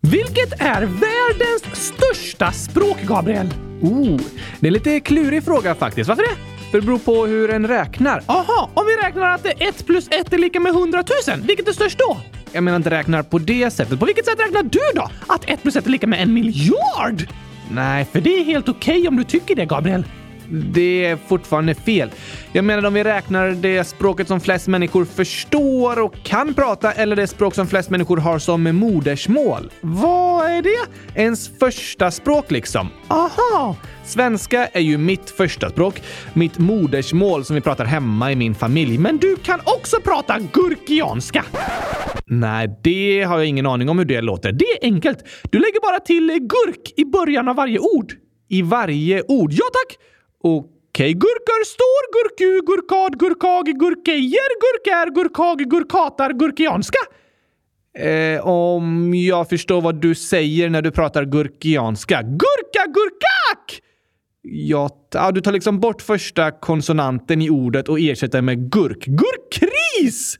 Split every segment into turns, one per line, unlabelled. Vilket är världens största språk, Gabriel?
Oh, det är lite klurig fråga faktiskt. Varför det? För det beror på hur en räknar.
Aha, om vi räknar att 1 plus 1 är lika med 100 000, vilket är störst då?
Jag menar inte räknar på det sättet.
På vilket sätt räknar du då? Att 1 plus 1 är lika med en miljard?
Nej,
För det är helt okej om du tycker det, Gabriel.
det är fortfarande fel. Jag menar om vi räknar det språket som flest människor förstår och kan prata eller det språk som flest människor har som modersmål. Vad är det? Ens första språk liksom.
Aha!
Svenska är ju mitt första språk, mitt modersmål som vi pratar hemma i min familj. Men
Men du kan också prata gurkianska.
nej, det har jag ingen aning om hur det låter.
Det är enkelt. Du lägger bara till eh, gurk i början av varje ord.
I varje ord.
Ja tack!
Okej,
Gurkor står, gurku, gurkad, gurkag, gurkejer, gurkär, gurkag, gurkatar, gurkianska.
Eh, om jag förstår vad du säger när du pratar gurkianska.
Gurka, gurkak!
Ja, t- ja, du tar liksom bort första konsonanten i ordet och ersätter med gurk. Gurkkris!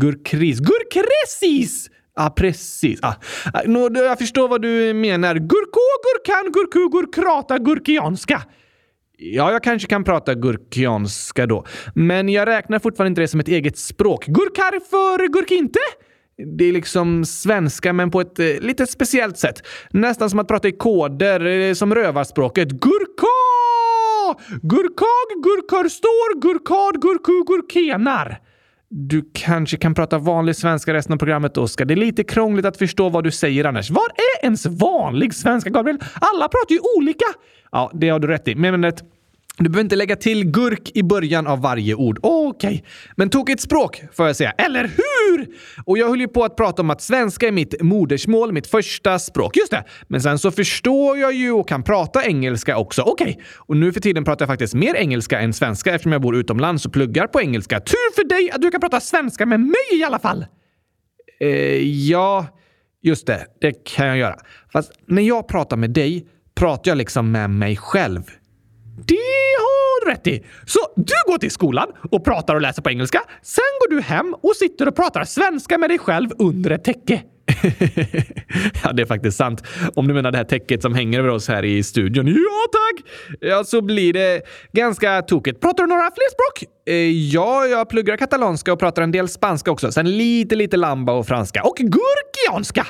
Gurkkris. Gurkresis! Ja, ah, precis. Ah. Ah, nå, du- jag förstår vad du menar. Gurko, gurkan, gurku, gurkrata, gurkianska. Ja, jag kanske kan prata gurkianska då. Men jag räknar fortfarande inte det som ett eget språk. Gurkar för gurk inte? Det är liksom svenska, men på ett eh, lite speciellt sätt. Nästan som att prata i koder, eh, som rövarspråket. Gurka! Gurkag, gurkör står, gurkad, gurku, gurkenar. Du kanske kan prata vanlig svenska resten av programmet, Oskar. Det är lite krångligt att förstå vad du säger annars. Vad är ens vanlig svenska, Gabriel? Alla pratar ju olika! Ja, det har du rätt i. Men, men ett, du behöver inte lägga till gurk i början av varje ord. Okej. Men tokigt språk, får jag säga. Eller hur? Och jag höll ju på att prata om att svenska är mitt modersmål, mitt första språk. Just det! Men sen så förstår jag ju och kan prata engelska också. Okej. Och nu för tiden pratar jag faktiskt mer engelska än svenska eftersom jag bor utomlands och pluggar på engelska. Tur för dig att du kan prata svenska med mig i alla fall! Eh, ja, just det. Det kan jag göra. Fast när jag pratar med dig pratar jag liksom med mig själv.
Det har du rätt i. Så du går till skolan och pratar och läser på engelska. Sen går du hem och sitter och pratar svenska med dig själv under ett täcke.
ja, det är faktiskt sant. Om du menar det här täcket som hänger över oss här i studion. Ja, tack! Ja, så blir det ganska tokigt. Pratar du några fler språk? Eh, ja, jag pluggar katalanska och pratar en del spanska också. Sen lite, lite lamba och franska. Och gurkianska!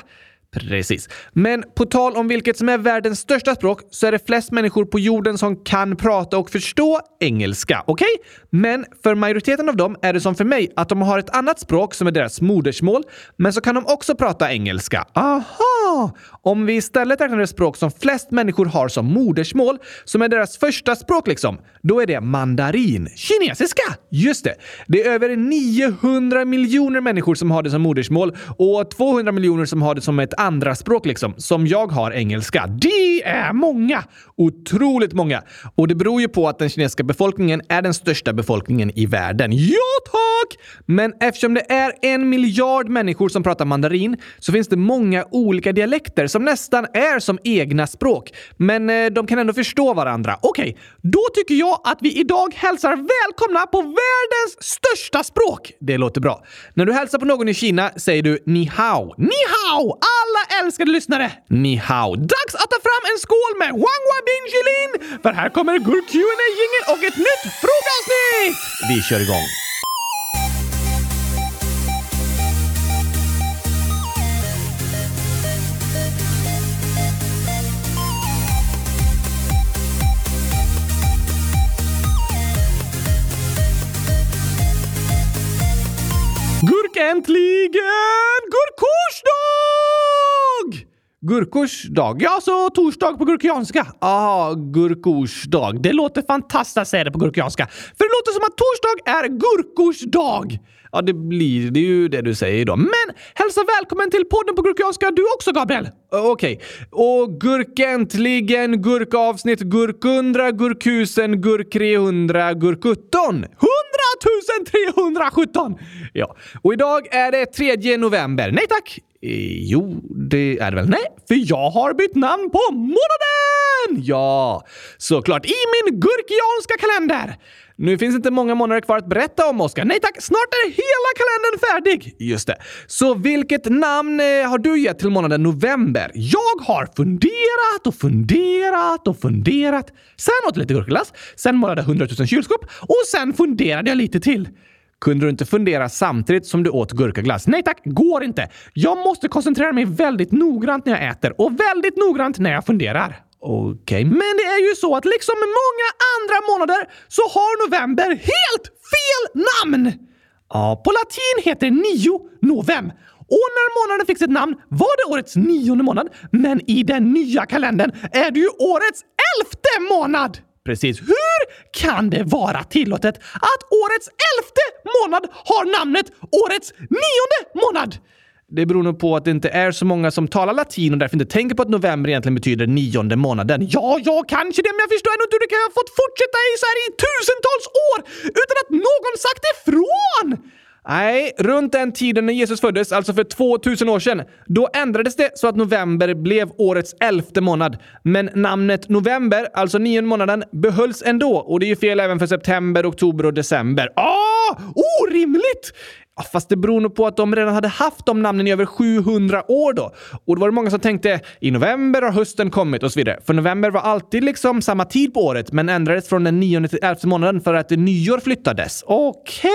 Precis. Men på tal om vilket som är världens största språk så är det flest människor på jorden som kan prata och förstå engelska. Okej? Men för majoriteten av dem är det som för mig att de har ett annat språk som är deras modersmål, men så kan de också prata engelska. Aha! Om vi istället räknar det språk som flest människor har som modersmål, som är deras första språk liksom, då är det mandarin. Kinesiska! Just det. Det är över 900 miljoner människor som har det som modersmål och 200 miljoner som har det som ett andra språk liksom, som jag har engelska. Det är många! Otroligt många. Och det beror ju på att den kinesiska befolkningen är den största befolkningen i världen. Ja tack! Men eftersom det är en miljard människor som pratar mandarin så finns det många olika dialekter som nästan är som egna språk. Men eh, de kan ändå förstå varandra. Okej, då tycker jag att vi idag hälsar välkomna på världens största språk. Det låter bra. När du hälsar på någon i Kina säger du ni hao. Ni hao! Alla älskade lyssnare! Ni hao. Dags att ta fram en skål med Wang Wabing Jilin! För här kommer gurkuna gingen och ett nytt frågeavsnitt! Vi kör igång. Gurk äntligen! Gurkorsdag! Gurkors dag? Ja, så torsdag på gurkianska. Ah, gurkors dag. Det låter fantastiskt att säga det på gurkianska. För det låter som att torsdag är gurkors dag. Ja, det blir det är ju det du säger idag. Men hälsa välkommen till podden på gurkianska du också, Gabriel. Ö, Okej. Och gurkäntligen, gurkavsnitt, gurkundra, gurkusen, gurk300, gurkutton. 100 317! Ja, och idag är det 3 november. Nej tack! Eh, Jo, det är det väl? Nej, för jag har bytt namn på månaden! Ja, såklart i min gurkianska kalender! Nu finns inte många månader kvar att berätta om, Oskar. Nej tack, snart är hela kalendern färdig! Just det. Så vilket namn eh, har du gett till månaden november?
Jag har funderat och funderat och funderat. Sen åt jag lite gurkaglass, sen målade jag 100 000 kylskåp och sen funderade jag lite till.
Kunde du inte fundera samtidigt som du åt gurkaglass?
Nej tack, går inte. Jag måste koncentrera mig väldigt noggrant när jag äter och väldigt noggrant när jag funderar.
Okej,
Men det är ju så att liksom många andra månader så har november helt fel namn! Ja, på latin heter det nio novem. Och när månaden fick sitt namn var det årets nionde månad, men i den nya kalendern är det ju årets elfte månad!
precis.
Hur kan det vara tillåtet att årets elfte månad har namnet årets nionde månad?
Det beror nog på att det inte är så många som talar latin och därför inte tänker på att november egentligen betyder nionde månaden.
Ja, jag kanske det, men jag förstår ändå inte hur det kan ha fått fortsätta i så här i tusentals år utan att någon sagt ifrån!
Nej, runt den tiden när Jesus föddes, alltså för 2000 år sedan, då ändrades det så att november blev årets elfte månad. Men namnet november, alltså nionde månaden, behölls ändå och det är ju fel även för september, oktober och december.
Ah, orimligt!
Ja, Fast det beror nog på att de redan hade haft de namnen i över 700 år då. Och då var det många som tänkte i november har hösten kommit och så vidare. För november var alltid liksom samma tid på året men ändrades från den 9 till 11 månaden för att nyår flyttades. Okej!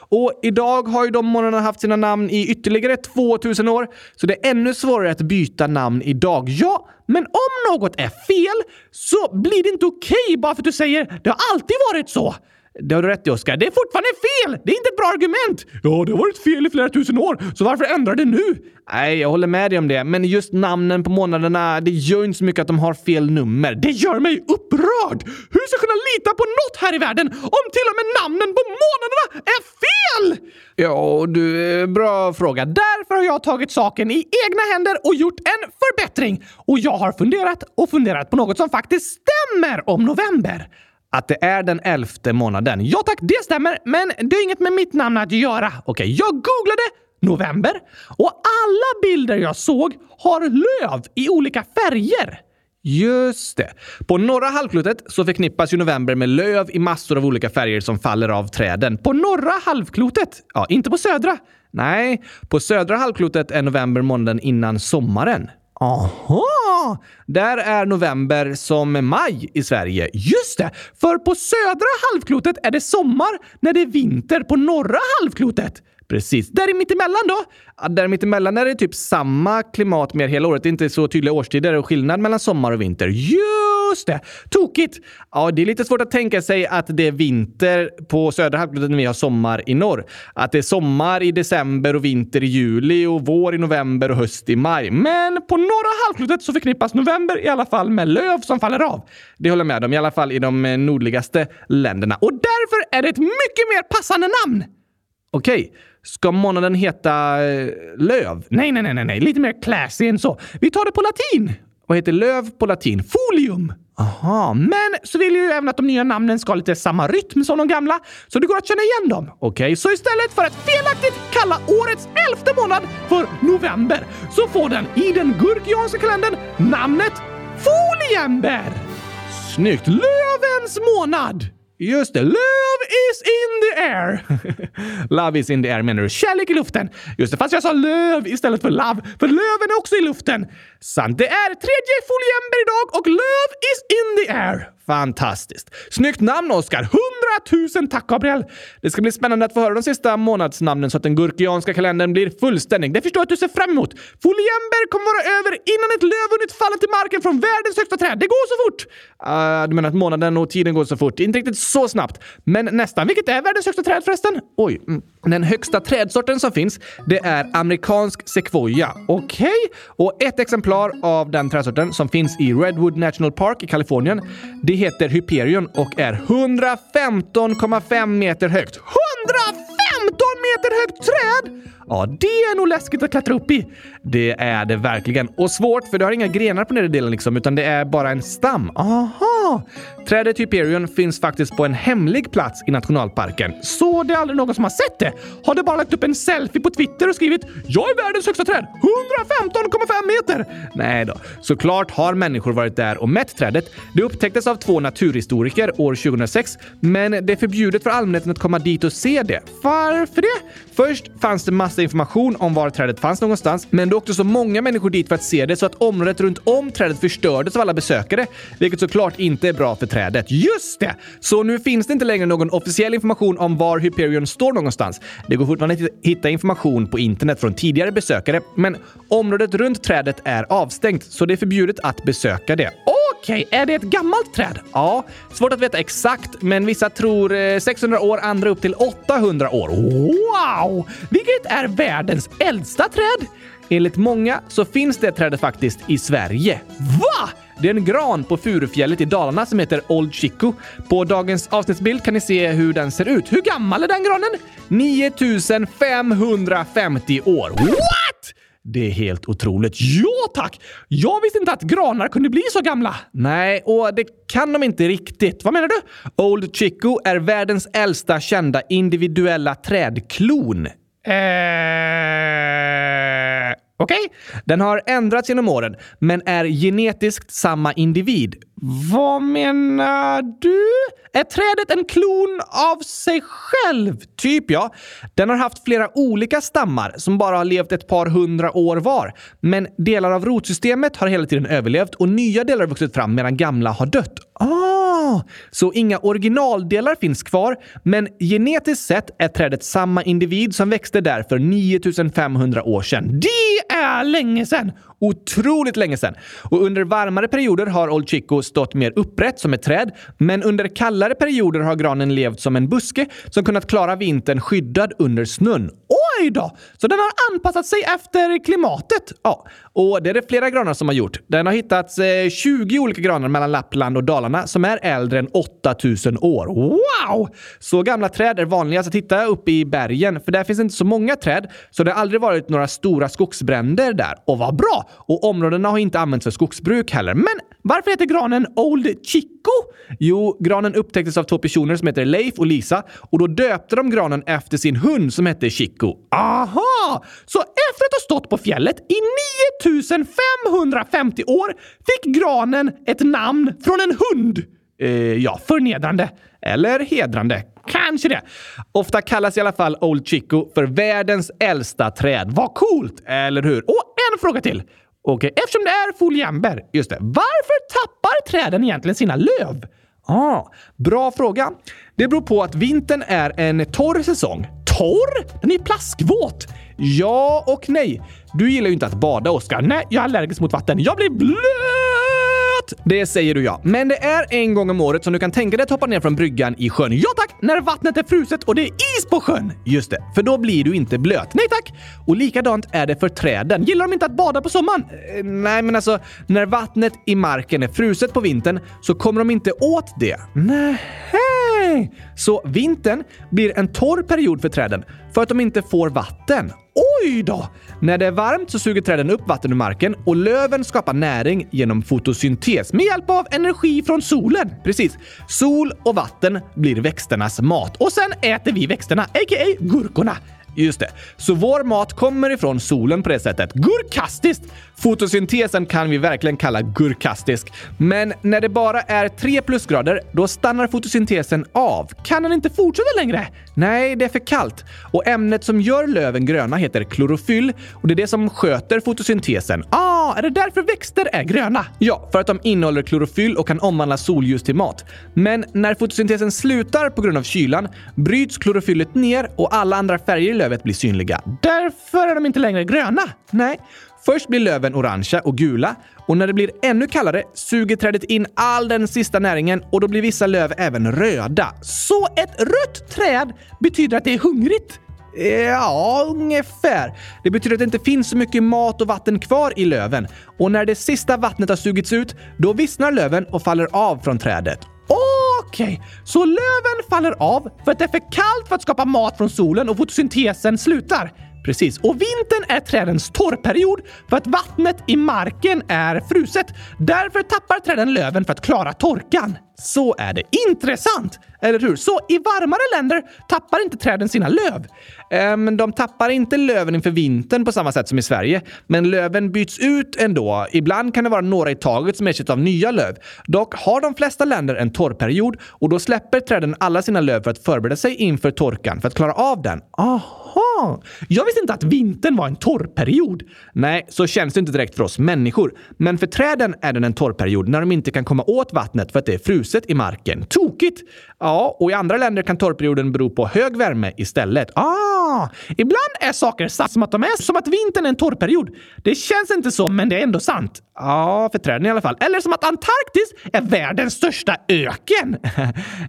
Och idag har ju de månaderna haft sina namn i ytterligare 2000 år så det är ännu svårare att byta namn idag.
Ja, men om något är fel så blir det inte okej bara för att du säger “det har alltid varit så”.
Det har du rätt i Oskar.
Ja, det är fortfarande fel! Det är inte ett bra argument! Ja, det har varit fel i flera tusen år, så varför ändra det nu?
Nej, jag håller med dig om det. Men just namnen på månaderna, det gör ju inte så mycket att de har fel nummer.
Det gör mig upprörd! Hur ska jag kunna lita på något här i världen om till och med namnen på månaderna är fel?
Ja, och du, eh, bra fråga.
Därför har jag tagit saken i egna händer och gjort en förbättring. Och jag har funderat och funderat på något som faktiskt stämmer om november.
Att det är den elfte månaden.
Ja tack, det stämmer, men det är inget med mitt namn att göra. Okej, jag googlade november och alla bilder jag såg har löv i olika färger.
Just det. På norra halvklotet så förknippas ju november med löv i massor av olika färger som faller av träden.
På norra halvklotet, ja, inte på södra.
Nej, på södra halvklotet är november månaden innan sommaren.
Aha!
Där är november som maj i Sverige.
Just det! För på södra halvklotet är det sommar när det är vinter på norra halvklotet.
Precis.
Där i mittemellan då?
Ja, Där mittemellan är det typ samma klimat mer hela året. Det är inte så tydliga årstider och skillnad mellan sommar och vinter.
Just det! Tokigt!
Ja, det är lite svårt att tänka sig att det är vinter på södra halvklotet när vi har sommar i norr. Att det är sommar i december och vinter i juli och vår i november och höst i maj. Men
Men på norra halvklotet så förknippas november i alla fall med löv som faller av.
det håller jag med om, i alla fall i de eh, nordligaste länderna.
Och därför är det ett mycket mer passande namn!
Okej, ska månaden heta eh, löv?
Nej, nej, nej, nej, nej. lite mer classy än så. Vi tar det på latin.
Vad heter löv på latin?
Folium!
Aha,
Men så vill jag ju även att de nya namnen ska ha lite samma rytm som de gamla, så det går att känna igen dem.
okej. så...
Så istället för att felaktigt kalla årets elfte månad för november så får den i den gurkianska kalendern namnet Foliember!
Snyggt!
Lövens månad!
Just det, löv
Love is in the air!
Love is in the air menar du?
Kärlek i luften. Just det, fast jag sa löv istället för love, för löven är också i luften. Sant, det är tredje foliember idag och löv is in the air.
Fantastiskt! Snyggt namn, Oskar! Hundratusen tack, Gabriel! Det ska bli spännande att få höra de sista månadsnamnen så att den gurkianska kalendern blir fullständig. Det förstår jag att du ser fram emot. Foliember kommer vara över innan ett löv hunnit falla till marken från världens högsta träd. Det går så fort! Ah, du menar att månaden och tiden går så fort? Inte riktigt så snabbt, men nästan. Vilket är världens högsta träd förresten? Oj. Mm. Den högsta trädsorten som finns, det är amerikansk sekvoja. Okej? Och ett exemplar av den trädsorten som finns i Redwood National Park i Kalifornien, det heter Hyperion och är 115,5 meter högt.
115 meter högt träd!
Ja, det är nog läskigt att klättra upp i. Det är det verkligen. Och svårt, för det har inga grenar på nedre delen liksom, utan det är bara en stam. Aha!
Jaha!
Trädet Hyperion finns faktiskt på en hemlig plats i nationalparken.
Så det är aldrig någon som har sett det? Har du bara lagt upp en selfie på Twitter och skrivit “Jag är världens högsta träd, 115,5 meter”?
Nej då. Såklart har människor varit där och mätt trädet. Det upptäcktes av två naturhistoriker år 2006, men det är förbjudet för allmänheten att komma dit och se det.
Varför det?
Först fanns det massa information om var trädet fanns någonstans, men det åkte så många människor dit för att se det så att området runt om trädet förstördes av alla besökare, vilket såklart inte är bra för trädet.
Just det!
Så nu finns det inte längre någon officiell information om var Hyperion står någonstans. Det går fortfarande att hitta information på internet från tidigare besökare, men området runt trädet är avstängt så det är förbjudet att besöka det.
Okej, är det ett gammalt träd?
Ja, svårt att veta exakt, men vissa tror eh, 600 år, andra upp till 800 år.
Wow! Vilket är världens äldsta träd?
Enligt många så finns det trädet faktiskt i Sverige.
Va?
Det är en gran på Furufjället i Dalarna som heter Old Chico. På dagens avsnittsbild kan ni se hur den ser ut.
Hur gammal är den granen?
9550 år.
What?
Det är helt otroligt.
Ja tack! Jag visste inte att granar kunde bli så gamla.
Nej, och det kan de inte riktigt.
Vad menar du?
Old Chico är världens äldsta kända individuella trädklon.
Eh... Okej?
Den har ändrats genom åren, men är genetiskt samma individ.
Vad menar du? Är trädet en klon av sig själv?
Typ ja. Den har haft flera olika stammar som bara har levt ett par hundra år var. Men delar av rotsystemet har hela tiden överlevt och nya delar har vuxit fram medan gamla har dött.
Ah!
Så inga originaldelar finns kvar, men genetiskt sett är trädet samma individ som växte där för 9500 år sedan.
Det är länge sedan!
Otroligt länge sedan! Och under varmare perioder har Old Chico stått mer upprätt som ett träd, men under kallare perioder har granen levt som en buske som kunnat klara vintern skyddad under snön.
Oj då! Så den har anpassat sig efter klimatet?
Ja, och det är det flera granar som har gjort. Den har hittats eh, 20 olika granar mellan Lappland och Dalarna som är äldre än 8000 år.
Wow!
Så gamla träd är vanligast att hitta uppe i bergen, för där finns inte så många träd, så det har aldrig varit några stora skogsbränder där.
Och vad bra!
Och områdena har inte använts för skogsbruk heller.
Men varför heter granen Old Chico?
Jo, granen upptäcktes av två personer som heter Leif och Lisa och då döpte de granen efter sin hund som hette Chico.
Aha! Så efter att ha stått på fjället i 9550 år fick granen ett namn från en hund!
Eh, ja,
Förnedrande.
eller hedrande.
Kanske det.
Ofta kallas i alla fall Old Chico för världens äldsta träd.
Vad coolt!
Eller hur?
Och en fråga till.
Okej,
Eftersom det är foliamber,
just det.
varför tappar träden egentligen sina löv?
Ah, bra fråga. Det beror på att vintern är en torr säsong.
Torr? Den är ju plaskvåt!
Ja och nej. Du gillar ju inte att bada, Oskar.
Nej, jag är allergisk mot vatten. Jag blir blöt!
Det säger du ja. Men det är en gång om året som du kan tänka dig att hoppa ner från bryggan i sjön.
Ja tack, när vattnet är fruset och det är is på sjön!
Just det, för då blir du inte blöt.
Nej tack!
Och likadant är det för träden.
Gillar de inte att bada på sommaren?
Eh, Nej, men alltså, när vattnet i marken är fruset på vintern så kommer de inte åt det.
Nej.
Så vintern blir en torr period för träden för att de inte får vatten.
Oj då!
När det är varmt så suger träden upp vatten ur marken och löven skapar näring genom fotosyntes
Med hjälp av energi från solen.
Precis. Sol och vatten blir växternas mat.
Och sen äter vi växterna, a.k.a. gurkorna.
Just det. Så vår mat kommer ifrån solen på det sättet.
Gurkastiskt!
Fotosyntesen kan vi verkligen kalla gurkastisk. Men när det bara är 3 plusgrader, då stannar fotosyntesen av.
Kan den inte fortsätta längre?
Nej, det är för kallt. Och ämnet som gör löven gröna heter klorofyll och det är det som sköter fotosyntesen.
Ah, är det därför växter är gröna?
Ja, för att de innehåller klorofyll och kan omvandla solljus till mat. Men när fotosyntesen slutar på grund av kylan bryts klorofyllet ner och alla andra färger i lövet blir synliga.
Därför är de inte längre gröna.
Nej, först blir löven orangea och gula och när det blir ännu kallare suger trädet in all den sista näringen och då blir vissa löv även röda.
Så ett rött träd betyder att det är hungrigt?
Ja, ungefär. Det betyder att det inte finns så mycket mat och vatten kvar i löven. Och när det sista vattnet har sugits ut, då vissnar löven och faller av från trädet.
Okej, så löven faller av för att det är för kallt för att skapa mat från solen och fotosyntesen slutar. Precis. Och vintern är trädens torrperiod för att vattnet i marken är fruset. Därför tappar träden löven för att klara torkan. Så är det. Intressant! Eller hur? Så i varmare länder tappar inte träden sina löv.
Ehm, de tappar inte löven inför vintern på samma sätt som i Sverige, men löven byts ut ändå. Ibland kan det vara några i taget som ersätts av nya löv. Dock har de flesta länder en torrperiod och då släpper träden alla sina löv för att förbereda sig inför torkan, för att klara av den.
Aha! Jag visste inte att vintern var en torrperiod.
Nej, så känns det inte direkt för oss människor. Men för träden är den en torrperiod när de inte kan komma åt vattnet för att det är fruset i marken. Tokigt! Ja, och i andra länder kan torrperioden bero på hög värme istället.
Ah! Ibland är saker sant som att de är som att vintern är en torrperiod. Det känns inte så, men det är ändå sant.
Ja, för träden i alla fall.
Eller som att Antarktis är världens största öken.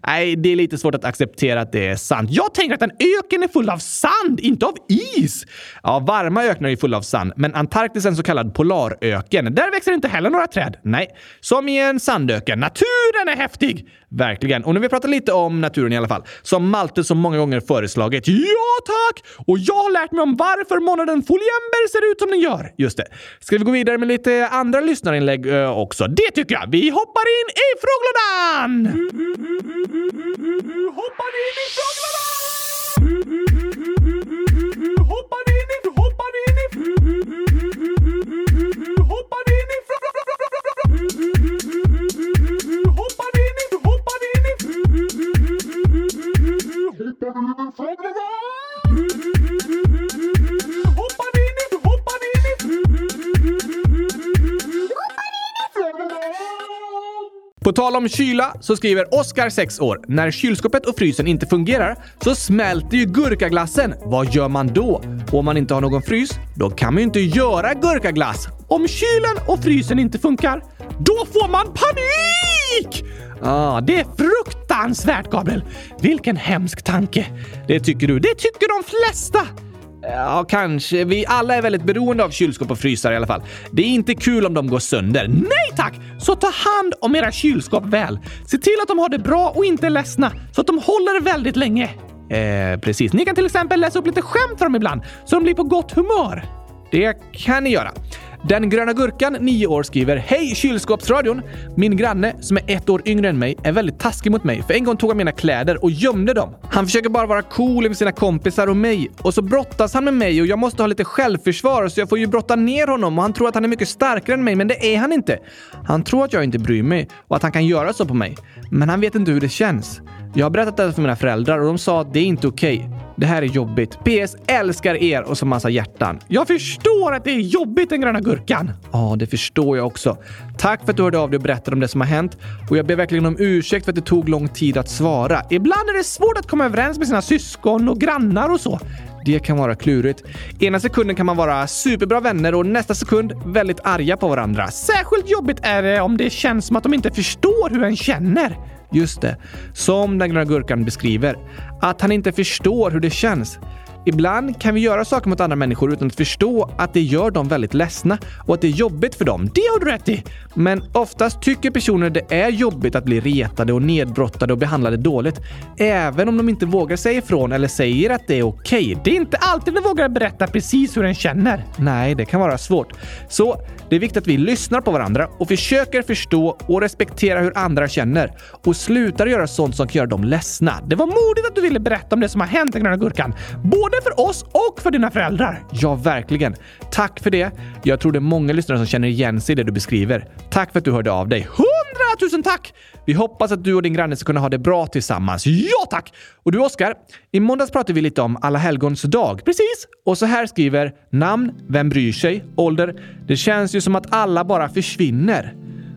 Nej, det är lite svårt att acceptera att det är sant.
Jag tänker att en öken är full av sand, inte av is.
Ja, varma öknar är fulla av sand, men Antarktis är en så kallad polaröken.
Där växer inte heller några träd.
Nej, som i en sandöken.
Naturen är häftig!
Verkligen. Och nu vill vi prata lite om naturen i alla fall. Som Malte så många gånger föreslagit. Ja, tack!
Och jag har lärt mig om varför månaden Foliember ser ut som den gör.
Just det. Ska vi gå vidare med lite andra lyssnarinlägg ö, också?
Det tycker jag. Vi hoppar in i frågelådan! Hoppar in i frågelådan! Hoppar in i... Hoppar in i... Hoppar in i... Hoppar in i... Hoppar in i... Hoppar in i frågelådan! Hoppar in i... Hoppar in i...
På tal om kyla så skriver Oskar 6 år. När kylskåpet och frysen inte fungerar så smälter ju gurkaglassen. Vad gör man då? Och om man inte har någon frys, då kan man ju inte göra gurkaglass.
Om kylen och frysen inte funkar, då får man panik! ah, det är fruktansvärt, Gabriel. Vilken hemsk tanke.
Det tycker du?
Det tycker de flesta.
Ja, kanske. Vi alla är väldigt beroende av kylskåp och frysar i alla fall. Det är inte kul om de går sönder.
Nej tack! Så ta hand om era kylskåp väl. Se till att de har det bra och inte är ledsna, så att de håller väldigt länge.
Eh, precis.
Ni kan till exempel läsa upp lite skämt för dem ibland, så de blir på gott humör.
Det kan ni göra. Den gröna gurkan, 9 år, skriver “Hej kylskåpsradion! Min granne, som är ett år yngre än mig, är väldigt taskig mot mig för en gång tog han mina kläder och gömde dem. Han försöker bara vara cool med sina kompisar och mig och så brottas han med mig och jag måste ha lite självförsvar så jag får ju brotta ner honom och han tror att han är mycket starkare än mig men det är han inte. Han tror att jag inte bryr mig och att han kan göra så på mig. Men han vet inte hur det känns. Jag har berättat det här för mina föräldrar och de sa att det är inte okej. Det här är jobbigt. PS. Älskar er! Och så massa hjärtan.
Jag förstår att det är jobbigt, den gröna gurkan.
Ja, det förstår jag också. Tack för att du hörde av dig och berättade om det som har hänt. Och jag ber verkligen om ursäkt för att det tog lång tid att svara.
Ibland är det svårt att komma överens med sina syskon och grannar och så.
Det kan vara klurigt. Ena sekunden kan man vara superbra vänner och nästa sekund väldigt arga på varandra.
Särskilt jobbigt är det om det känns som att de inte förstår hur en känner.
Just det, som den gröna gurkan beskriver. Att han inte förstår hur det känns. Ibland kan vi göra saker mot andra människor utan att förstå att det gör dem väldigt ledsna och att det är jobbigt för dem.
Det har du rätt i!
Men oftast tycker personer det är jobbigt att bli retade och nedbrottade och behandlade dåligt. Även om de inte vågar säga ifrån eller säger att det är okej.
Det är inte alltid den vågar berätta precis hur den känner.
Nej, det kan vara svårt. Så det är viktigt att vi lyssnar på varandra och försöker förstå och respektera hur andra känner och slutar göra sånt som kan göra dem ledsna.
Det var modigt att du ville berätta om det som har hänt, den gröna gurkan. Både för oss och för dina föräldrar.
Ja, verkligen. Tack för det. Jag tror det är många lyssnare som känner igen sig i det du beskriver. Tack för att du hörde av dig.
Hundratusen tack!
Vi hoppas att du och din granne ska kunna ha det bra tillsammans. Ja, tack! Och du Oskar, i måndags pratade vi lite om Alla helgons dag.
Precis!
Och så här skriver namn, vem bryr sig, ålder. Det känns ju som att alla bara försvinner.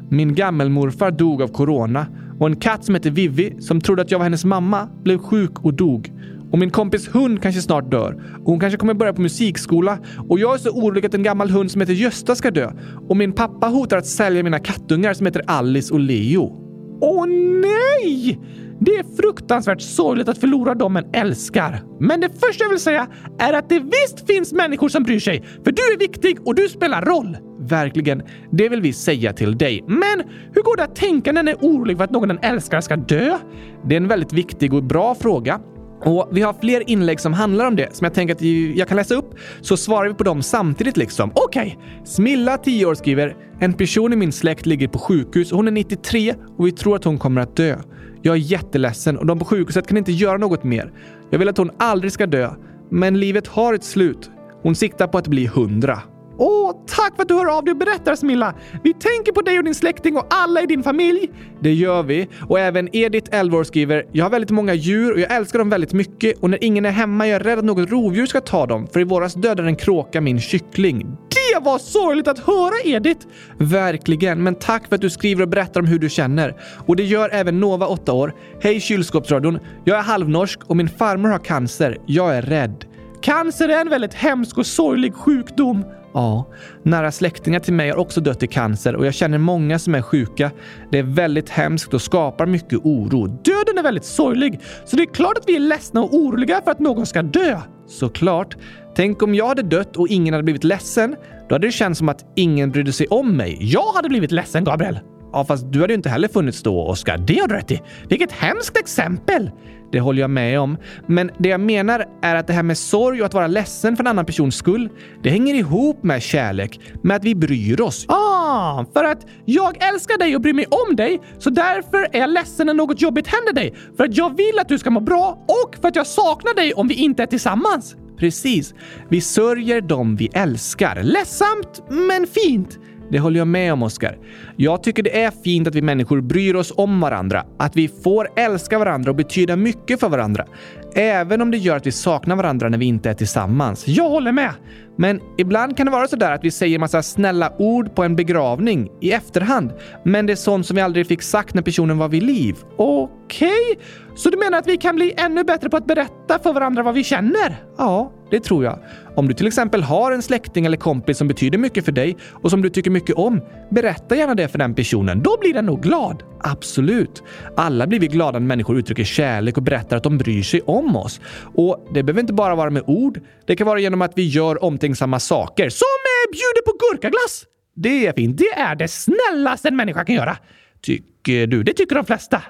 Min gammelmorfar dog av corona och en katt som heter Vivi som trodde att jag var hennes mamma blev sjuk och dog. Och min kompis hund kanske snart dör. Och hon kanske kommer börja på musikskola. Och jag är så orolig att en gammal hund som heter Gösta ska dö. Och min pappa hotar att sälja mina kattungar som heter Alice och Leo.
Åh nej! Det är fruktansvärt sorgligt att förlora dem man älskar. Men det första jag vill säga är att det visst finns människor som bryr sig. För du är viktig och du spelar roll.
Verkligen, det vill vi säga till dig.
Men hur går det att tänka när den är orolig för att någon den älskar ska dö?
Det är en väldigt viktig och bra fråga. Och Vi har fler inlägg som handlar om det som jag tänker att jag kan läsa upp så svarar vi på dem samtidigt liksom. Okej! Smilla, 10 år, skriver “En person i min släkt ligger på sjukhus. Hon är 93 och vi tror att hon kommer att dö. Jag är jätteledsen och de på sjukhuset kan inte göra något mer. Jag vill att hon aldrig ska dö. Men livet har ett slut. Hon siktar på att bli 100.”
Åh, tack för att du hör av dig och berättar Smilla! Vi tänker på dig och din släkting och alla i din familj.
Det gör vi. Och även Edith, 11 år, skriver “Jag har väldigt många djur och jag älskar dem väldigt mycket och när ingen är hemma är jag rädd att något rovdjur ska ta dem för i våras dödade en kråka min kyckling.
Det var sorgligt att höra Edith!
Verkligen, men tack för att du skriver och berättar om hur du känner. Och det gör även Nova, 8 år. Hej kylskåpsradion! Jag är halvnorsk och min farmor har cancer. Jag är rädd.
Cancer är en väldigt hemsk och sorglig sjukdom.
Ja, nära släktingar till mig har också dött i cancer och jag känner många som är sjuka. Det är väldigt hemskt och skapar mycket oro.
Döden är väldigt sorglig, så det är klart att vi är ledsna och oroliga för att någon ska dö.
Såklart. Tänk om jag hade dött och ingen hade blivit ledsen. Då hade det känts som att ingen brydde sig om mig.
Jag hade blivit ledsen, Gabriel.
Ja, fast du hade ju inte heller funnits då, Oskar.
Det har du rätt i. Vilket hemskt exempel!
Det håller jag med om. Men det jag menar är att det här med sorg och att vara ledsen för en annan persons skull, det hänger ihop med kärlek, med att vi bryr oss.
Ah, för att jag älskar dig och bryr mig om dig, så därför är jag ledsen när något jobbigt händer dig. För att jag vill att du ska må bra och för att jag saknar dig om vi inte är tillsammans.
Precis. Vi sörjer dem vi älskar.
Ledsamt, men fint.
Det håller jag med om, Oskar. Jag tycker det är fint att vi människor bryr oss om varandra. Att vi får älska varandra och betyda mycket för varandra. Även om det gör att vi saknar varandra när vi inte är tillsammans.
Jag håller med!
Men ibland kan det vara sådär att vi säger massa snälla ord på en begravning i efterhand. Men det är sånt som vi aldrig fick sagt när personen var vid liv.
Okej, okay. så du menar att vi kan bli ännu bättre på att berätta för varandra vad vi känner?
Ja, det tror jag. Om du till exempel har en släkting eller kompis som betyder mycket för dig och som du tycker mycket om, berätta gärna det för den personen.
Då blir den nog glad.
Absolut. Alla blir vi glada när människor uttrycker kärlek och berättar att de bryr sig om oss. Och det behöver inte bara vara med ord. Det kan vara genom att vi gör omtänksamma saker.
Som eh, bjuder på gurkaglass!
Det är fint.
Det är det snällaste en människa kan göra.
Tycker du?
Det tycker de flesta.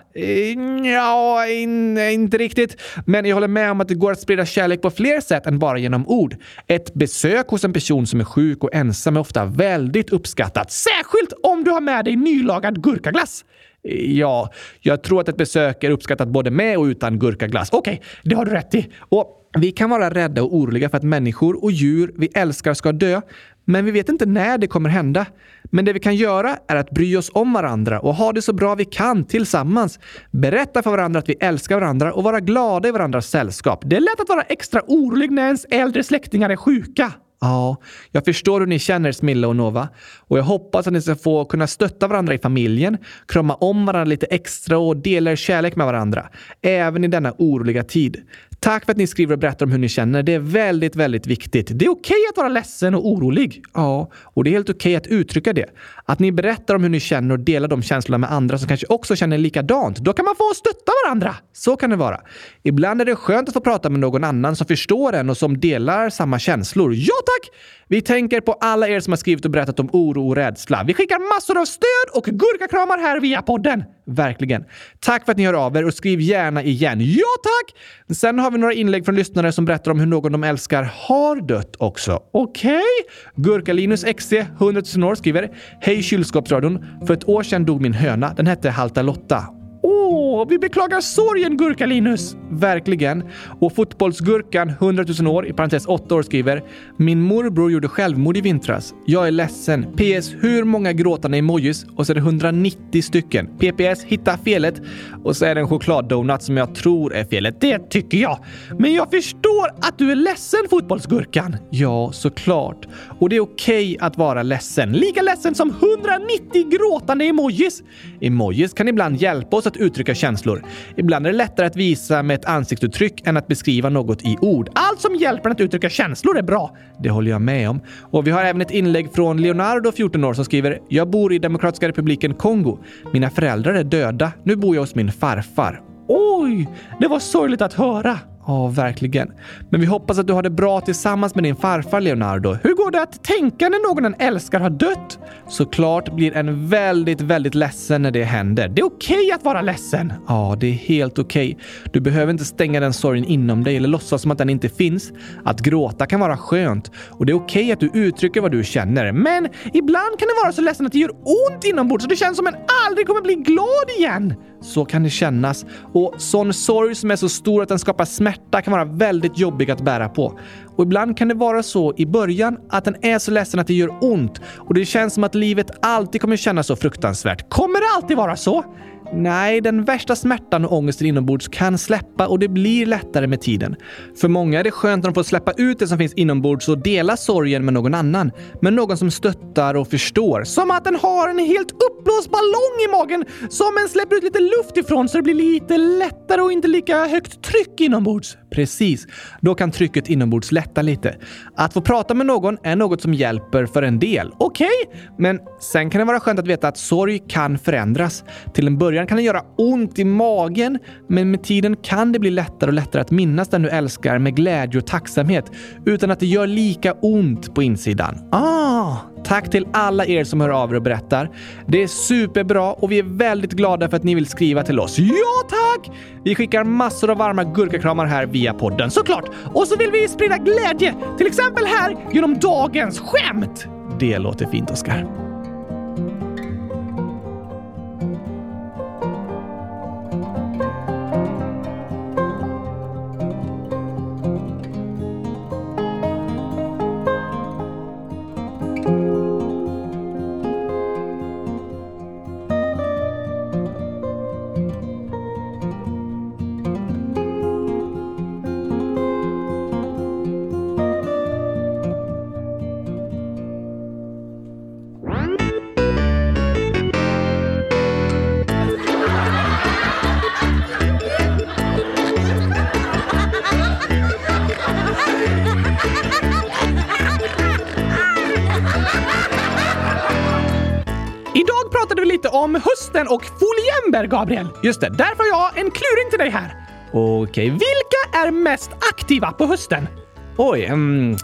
Ja, in, inte riktigt. Men jag håller med om att det går att sprida kärlek på fler sätt än bara genom ord. Ett besök hos en person som är sjuk och ensam är ofta väldigt uppskattat.
Särskilt om du har med dig nylagad gurkaglass.
Ja, jag tror att ett besök är uppskattat både med och utan gurkaglass.
Okej, okay, det har du rätt i.
Och vi kan vara rädda och oroliga för att människor och djur vi älskar ska dö, men vi vet inte när det kommer hända. Men det vi kan göra är att bry oss om varandra och ha det så bra vi kan tillsammans. Berätta för varandra att vi älskar varandra och vara glada i varandras sällskap.
Det är lätt att vara extra orolig när ens äldre släktingar är sjuka.
Ja, jag förstår hur ni känner Smilla och Nova. Och jag hoppas att ni ska få kunna stötta varandra i familjen, krama om varandra lite extra och dela er kärlek med varandra. Även i denna oroliga tid. Tack för att ni skriver och berättar om hur ni känner. Det är väldigt, väldigt viktigt.
Det är okej att vara ledsen och orolig.
Ja, och det är helt okej att uttrycka det. Att ni berättar om hur ni känner och delar de känslorna med andra som kanske också känner likadant.
Då kan man få stötta varandra.
Så kan det vara. Ibland är det skönt att få prata med någon annan som förstår en och som delar samma känslor.
Ja tack!
Vi tänker på alla er som har skrivit och berättat om oro och rädsla.
Vi skickar massor av stöd och gurkakramar här via podden.
Verkligen. Tack för att ni hör av er och skriv gärna igen.
Ja tack!
Sen har vi några inlägg från lyssnare som berättar om hur någon de älskar har dött också.
Okej? Okay.
Gurkalinus XC, 100 000 år, skriver Hej kylskåpsradion! För ett år sedan dog min höna. Den hette Halta Lotta.
Åh, oh, vi beklagar sorgen Gurka-Linus!
Verkligen. Och fotbollsgurkan 100 000 år, i parentes 8 år, skriver “Min morbror gjorde självmord i vintras. Jag är ledsen. PS. Hur många gråtande emojis?” och så är det 190 stycken. PPS. Hitta felet. Och så är det en chokladdonut som jag tror är felet.
Det tycker jag. Men jag förstår att du är ledsen fotbollsgurkan.
Ja, såklart. Och det är okej okay att vara ledsen.
Lika ledsen som 190 gråtande emojis.
Emojis kan ibland hjälpa oss att uttrycka känslor. Ibland är det lättare att visa med ett ansiktsuttryck än att beskriva något i ord.
Allt som hjälper att uttrycka känslor är bra.
Det håller jag med om. Och vi har även ett inlägg från Leonardo, 14 år, som skriver “Jag bor i Demokratiska republiken Kongo. Mina föräldrar är döda. Nu bor jag hos min farfar.”
Oj, det var sorgligt att höra.
Ja, verkligen. Men vi hoppas att du har det bra tillsammans med din farfar Leonardo. Hur går det att tänka när någon en älskar har dött? Såklart blir en väldigt, väldigt ledsen när det händer. Det är okej att vara ledsen. Ja, det är helt okej. Du behöver inte stänga den sorgen inom dig eller låtsas som att den inte finns. Att gråta kan vara skönt och det är okej att du uttrycker vad du känner. Men ibland kan det vara så ledsen att det gör ont inombords så det känns som en aldrig kommer bli glad igen. Så kan det kännas. Och sån sorg som är så stor att den skapar smärta kan vara väldigt jobbig att bära på. Och ibland kan det vara så i början att den är så ledsen att det gör ont och det känns som att livet alltid kommer kännas så fruktansvärt. Kommer det alltid vara så? Nej, den värsta smärtan och ångesten inombords kan släppa och det blir lättare med tiden. För många är det skönt när de får släppa ut det som finns inombords och dela sorgen med någon annan. Men någon som stöttar och förstår. Som att den har en helt uppblåst ballong i magen som en släpper ut lite luft ifrån så det blir lite lättare och inte lika högt tryck inombords. Precis. Då kan trycket inombords lätta lite. Att få prata med någon är något som hjälper för en del. Okej, men sen kan det vara skönt att veta att sorg kan förändras. Till en början kan det göra ont i magen, men med tiden kan det bli lättare och lättare att minnas den du älskar med glädje och tacksamhet utan att det gör lika ont på insidan. Ah! Tack till alla er som hör av er och berättar. Det är superbra och vi är väldigt glada för att ni vill skriva till oss. Ja, tack! Vi skickar massor av varma gurkakramar här via podden såklart. Och så vill vi sprida glädje, till exempel här genom dagens skämt. Det låter fint, Oskar. Idag pratade vi lite om hösten och foliember, Gabriel. Just det, därför har jag en kluring till dig här. Okej, vilka är mest aktiva på hösten? Oj, mm,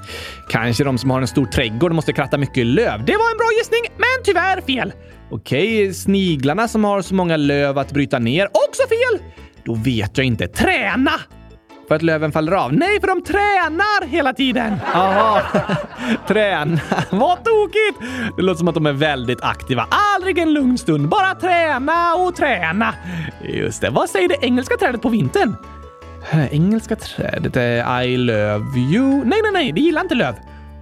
kanske de som har en stor trädgård och måste kratta mycket löv. Det var en bra gissning, men tyvärr fel. Okej, sniglarna som har så många löv att bryta ner. Också fel! Då vet jag inte. Träna! För att löven faller av? Nej, för de tränar hela tiden! Jaha, träna. Vad tokigt! Det låter som att de är väldigt aktiva. Aldrig en lugn stund, bara träna och träna. Just det. Vad säger det engelska trädet på vintern? Eh, Engelska trädet är I love you. Nej, nej, nej, det gillar inte löv.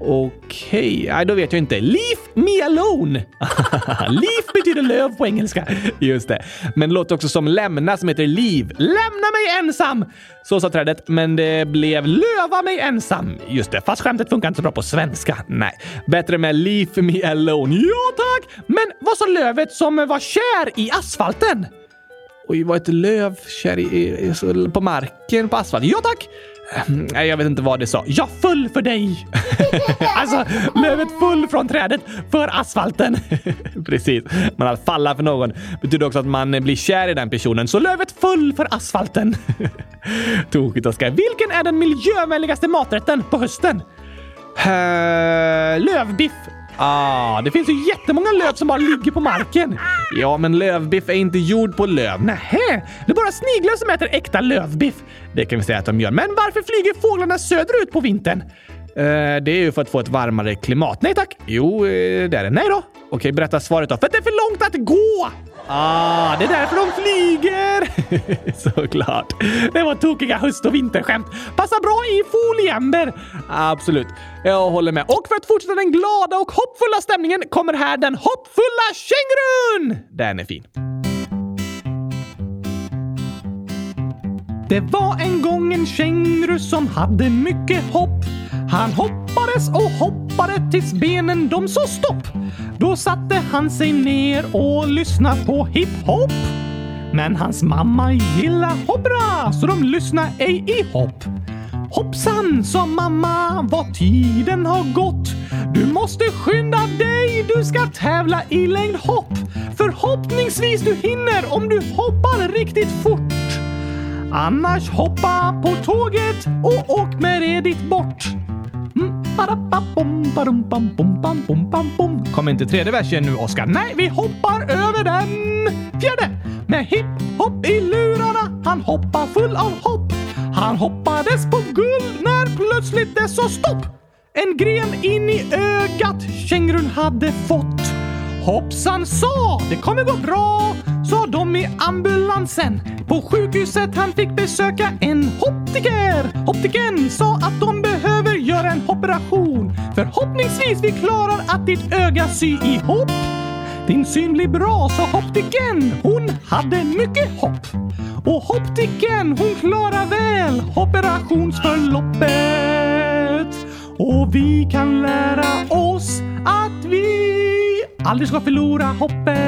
Okej, nej då vet jag inte. Leave me alone! Leave betyder löv på engelska. Just det. Men det låter också som lämna som heter liv. Lämna mig ensam! Så sa trädet, men det blev löva mig ensam. Just det, fast skämtet funkar inte så bra på svenska. Nej, bättre med leave me alone. Ja tack! Men vad sa lövet som var kär i asfalten? Oj, var ett löv kär i, i, i, på marken på asfalt? Ja tack! Ehm, Nej, jag vet inte vad det sa. Jag föll för dig! alltså, lövet föll från trädet för asfalten. Precis. Men att falla för någon betyder också att man blir kär i den personen. Så lövet föll för asfalten. Tokigt, Oskar. Vilken är den miljövänligaste maträtten på hösten? Eh, lövbiff. Ah, det finns ju jättemånga löv som bara ligger på marken. Ja, men lövbiff är inte gjord på löv. Nähä, det är bara sniglar som äter äkta lövbiff. Det kan vi säga att de gör. Men varför flyger fåglarna söderut på vintern? Eh, det är ju för att få ett varmare klimat. Nej tack. Jo, eh, det är det. Nej då. Okej, berätta svaret då. För att det är för långt att gå! Ah, det är därför de flyger! Såklart. Det var tokiga höst och vinterskämt. Passar bra i foliember. Absolut. Jag håller med. Och för att fortsätta den glada och hoppfulla stämningen kommer här den hoppfulla kängurun! Den är fin. Det var en gång en känguru som hade mycket hopp. Han hoppades och hoppade tills benen de sa stopp. Då satte han sig ner och lyssnade på hiphop. Men hans mamma gillar hoppra så de lyssnar ej i hopp. Hoppsan, sa mamma, vad tiden har gått. Du måste skynda dig, du ska tävla i längdhopp. Förhoppningsvis du hinner om du hoppar riktigt fort.
Annars hoppa på tåget och åk med det ditt bort. Mm, badababom, badum, bam, bom, bam, bam, bom. Kom inte tredje versen nu, Oskar. Nej, vi hoppar över den. Fjärde! Med hipp-hopp i lurarna, han hoppar full av hopp. Han hoppades på guld när plötsligt det sa stopp. En gren in i ögat kängurun hade fått. Hoppsan sa, det kommer gå bra, sa de i ambulansen. På sjukhuset han fick besöka en optiker. Optiken sa att de behöver göra en operation. Förhoppningsvis vi klarar att ditt öga sy ihop. Din syn blir bra, sa optiken. Hon hade mycket hopp. Och optiken, hon klarar väl operationsförloppet. Och vi kan lära oss att vi aldrig ska förlora hoppet.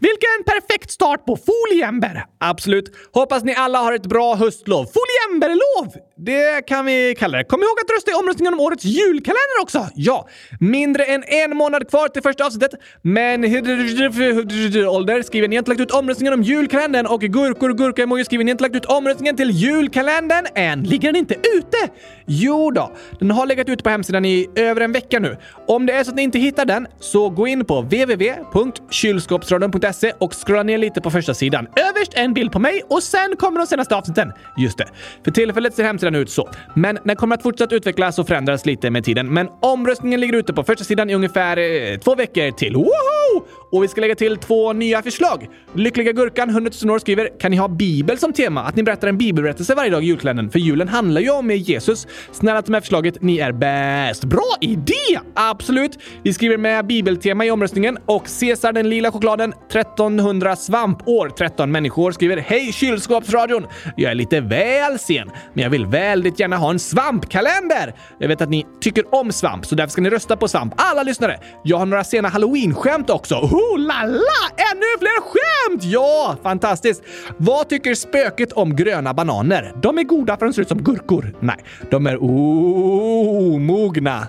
Vilken perfekt start på Foliember!
Absolut. Hoppas ni alla har ett bra höstlov.
Foliemberlov!
Det kan vi kalla det.
Kom ihåg att rösta i omröstningen om årets julkalender också!
Ja, mindre än en månad kvar till första avsnittet, men ålder skriver ni inte lagt ut omröstningen om julkalendern och gurkor gurka emoji skriver ni inte lagt ut omröstningen till julkalendern än.
Ligger den inte ute?
Jo då, den har legat ute på hemsidan i över en vecka nu. Om det är så att ni inte hittar den så gå in på www.kylskåpsradion.se och scrolla ner lite på första sidan.
Överst en bild på mig och sen kommer de senaste avsnitten.
Just det. För tillfället ser hemsidan ut så, men den kommer att fortsätta utvecklas och förändras lite med tiden. Men omröstningen ligger ute på första sidan i ungefär eh, två veckor till. Woho! Och vi ska lägga till två nya förslag. Lyckliga Gurkan, 100 000 år, skriver “Kan ni ha Bibel som tema? Att ni berättar en bibelberättelse varje dag i julkalendern? För julen handlar ju om Jesus. Snälla ta med förslaget, ni är bäst!”
Bra idé!
Absolut! Vi skriver med bibeltema i omröstningen och Cesar den lila chokladen, 1300 svampår, 13 människor skriver “Hej kylskåpsradion! Jag är lite väl sen, men jag vill väldigt gärna ha en svampkalender! Jag vet att ni tycker om svamp, så därför ska ni rösta på svamp. Alla lyssnare! Jag har några sena halloween-skämt också. Oh la la! Ännu fler skämt! Ja, fantastiskt! Vad tycker spöket om gröna bananer? De är goda för de ser ut som gurkor. Nej, de är omogna.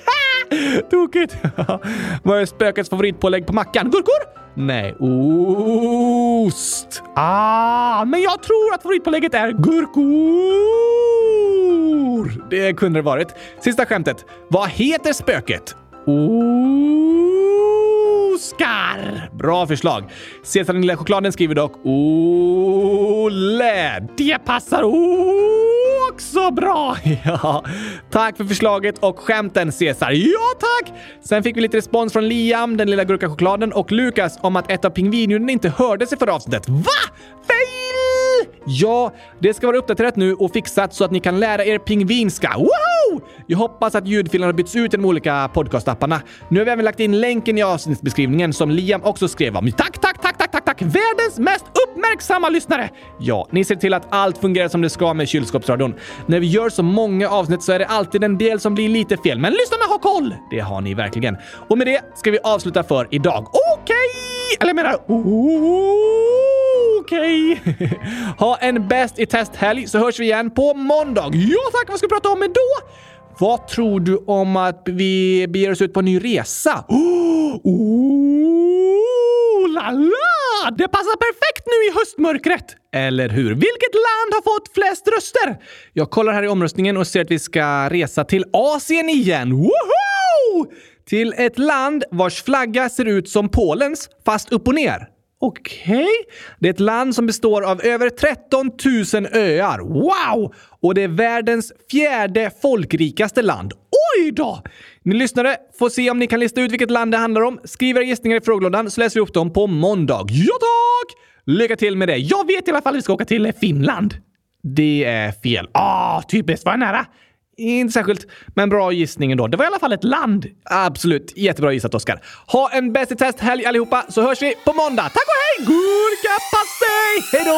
Tokigt! Vad är spökets favoritpålägg på mackan? Gurkor? Nej, ost.
Ah, men jag tror att favoritpålägget är gurkor!
Det kunde det varit. Sista skämtet. Vad heter spöket?
Oskar!
Bra förslag. Cesar den lilla chokladen skriver dock Olle.
Det passar också bra!
Ja, tack för förslaget och skämten Cesar. Ja tack! Sen fick vi lite respons från Liam, den lilla gurkachokladen och Lukas om att ett av pingvinljuden inte hördes i förra avsnittet.
Va? Fail!
Ja, det ska vara uppdaterat nu och fixat så att ni kan lära er pingvinska. Woho! Jag hoppas att ljudfilerna har bytts ut i de olika podcastapparna. Nu har vi även lagt in länken i avsnittsbeskrivningen som Liam också skrev om.
Tack, tack, tack, tack, tack, tack! Världens mest uppmärksamma lyssnare!
Ja, ni ser till att allt fungerar som det ska med kylskåpsradion. När vi gör så många avsnitt så är det alltid en del som blir lite fel, men lyssnarna har koll! Det har ni verkligen. Och med det ska vi avsluta för idag.
Okej! Okay. Eller jag menar... Okej! Okay.
ha en bäst i test-helg så hörs vi igen på måndag.
Ja tack! Vad ska vi prata om då?
Vad tror du om att vi beger oss ut på en ny resa?
Oh, oh la la! Det passar perfekt nu i höstmörkret!
Eller hur?
Vilket land har fått flest röster?
Jag kollar här i omröstningen och ser att vi ska resa till Asien igen. Woho! Till ett land vars flagga ser ut som Polens, fast upp och ner.
Okej. Okay.
Det är ett land som består av över 13 000 öar.
Wow!
Och det är världens fjärde folkrikaste land.
Oj då!
Ni lyssnare får se om ni kan lista ut vilket land det handlar om. Skriv era gissningar i frågelådan så läser vi upp dem på måndag.
Ja tack!
Lycka till med det.
Jag vet i alla fall att vi ska åka till Finland.
Det är fel.
Ah, typiskt. Var nära.
Inte särskilt, men bra gissning ändå.
Det var i alla fall ett land.
Absolut. Jättebra gissat, Oskar. Ha en bäst i test-helg allihopa, så hörs vi på måndag. Tack och hej! Gurkapastej! Hej då!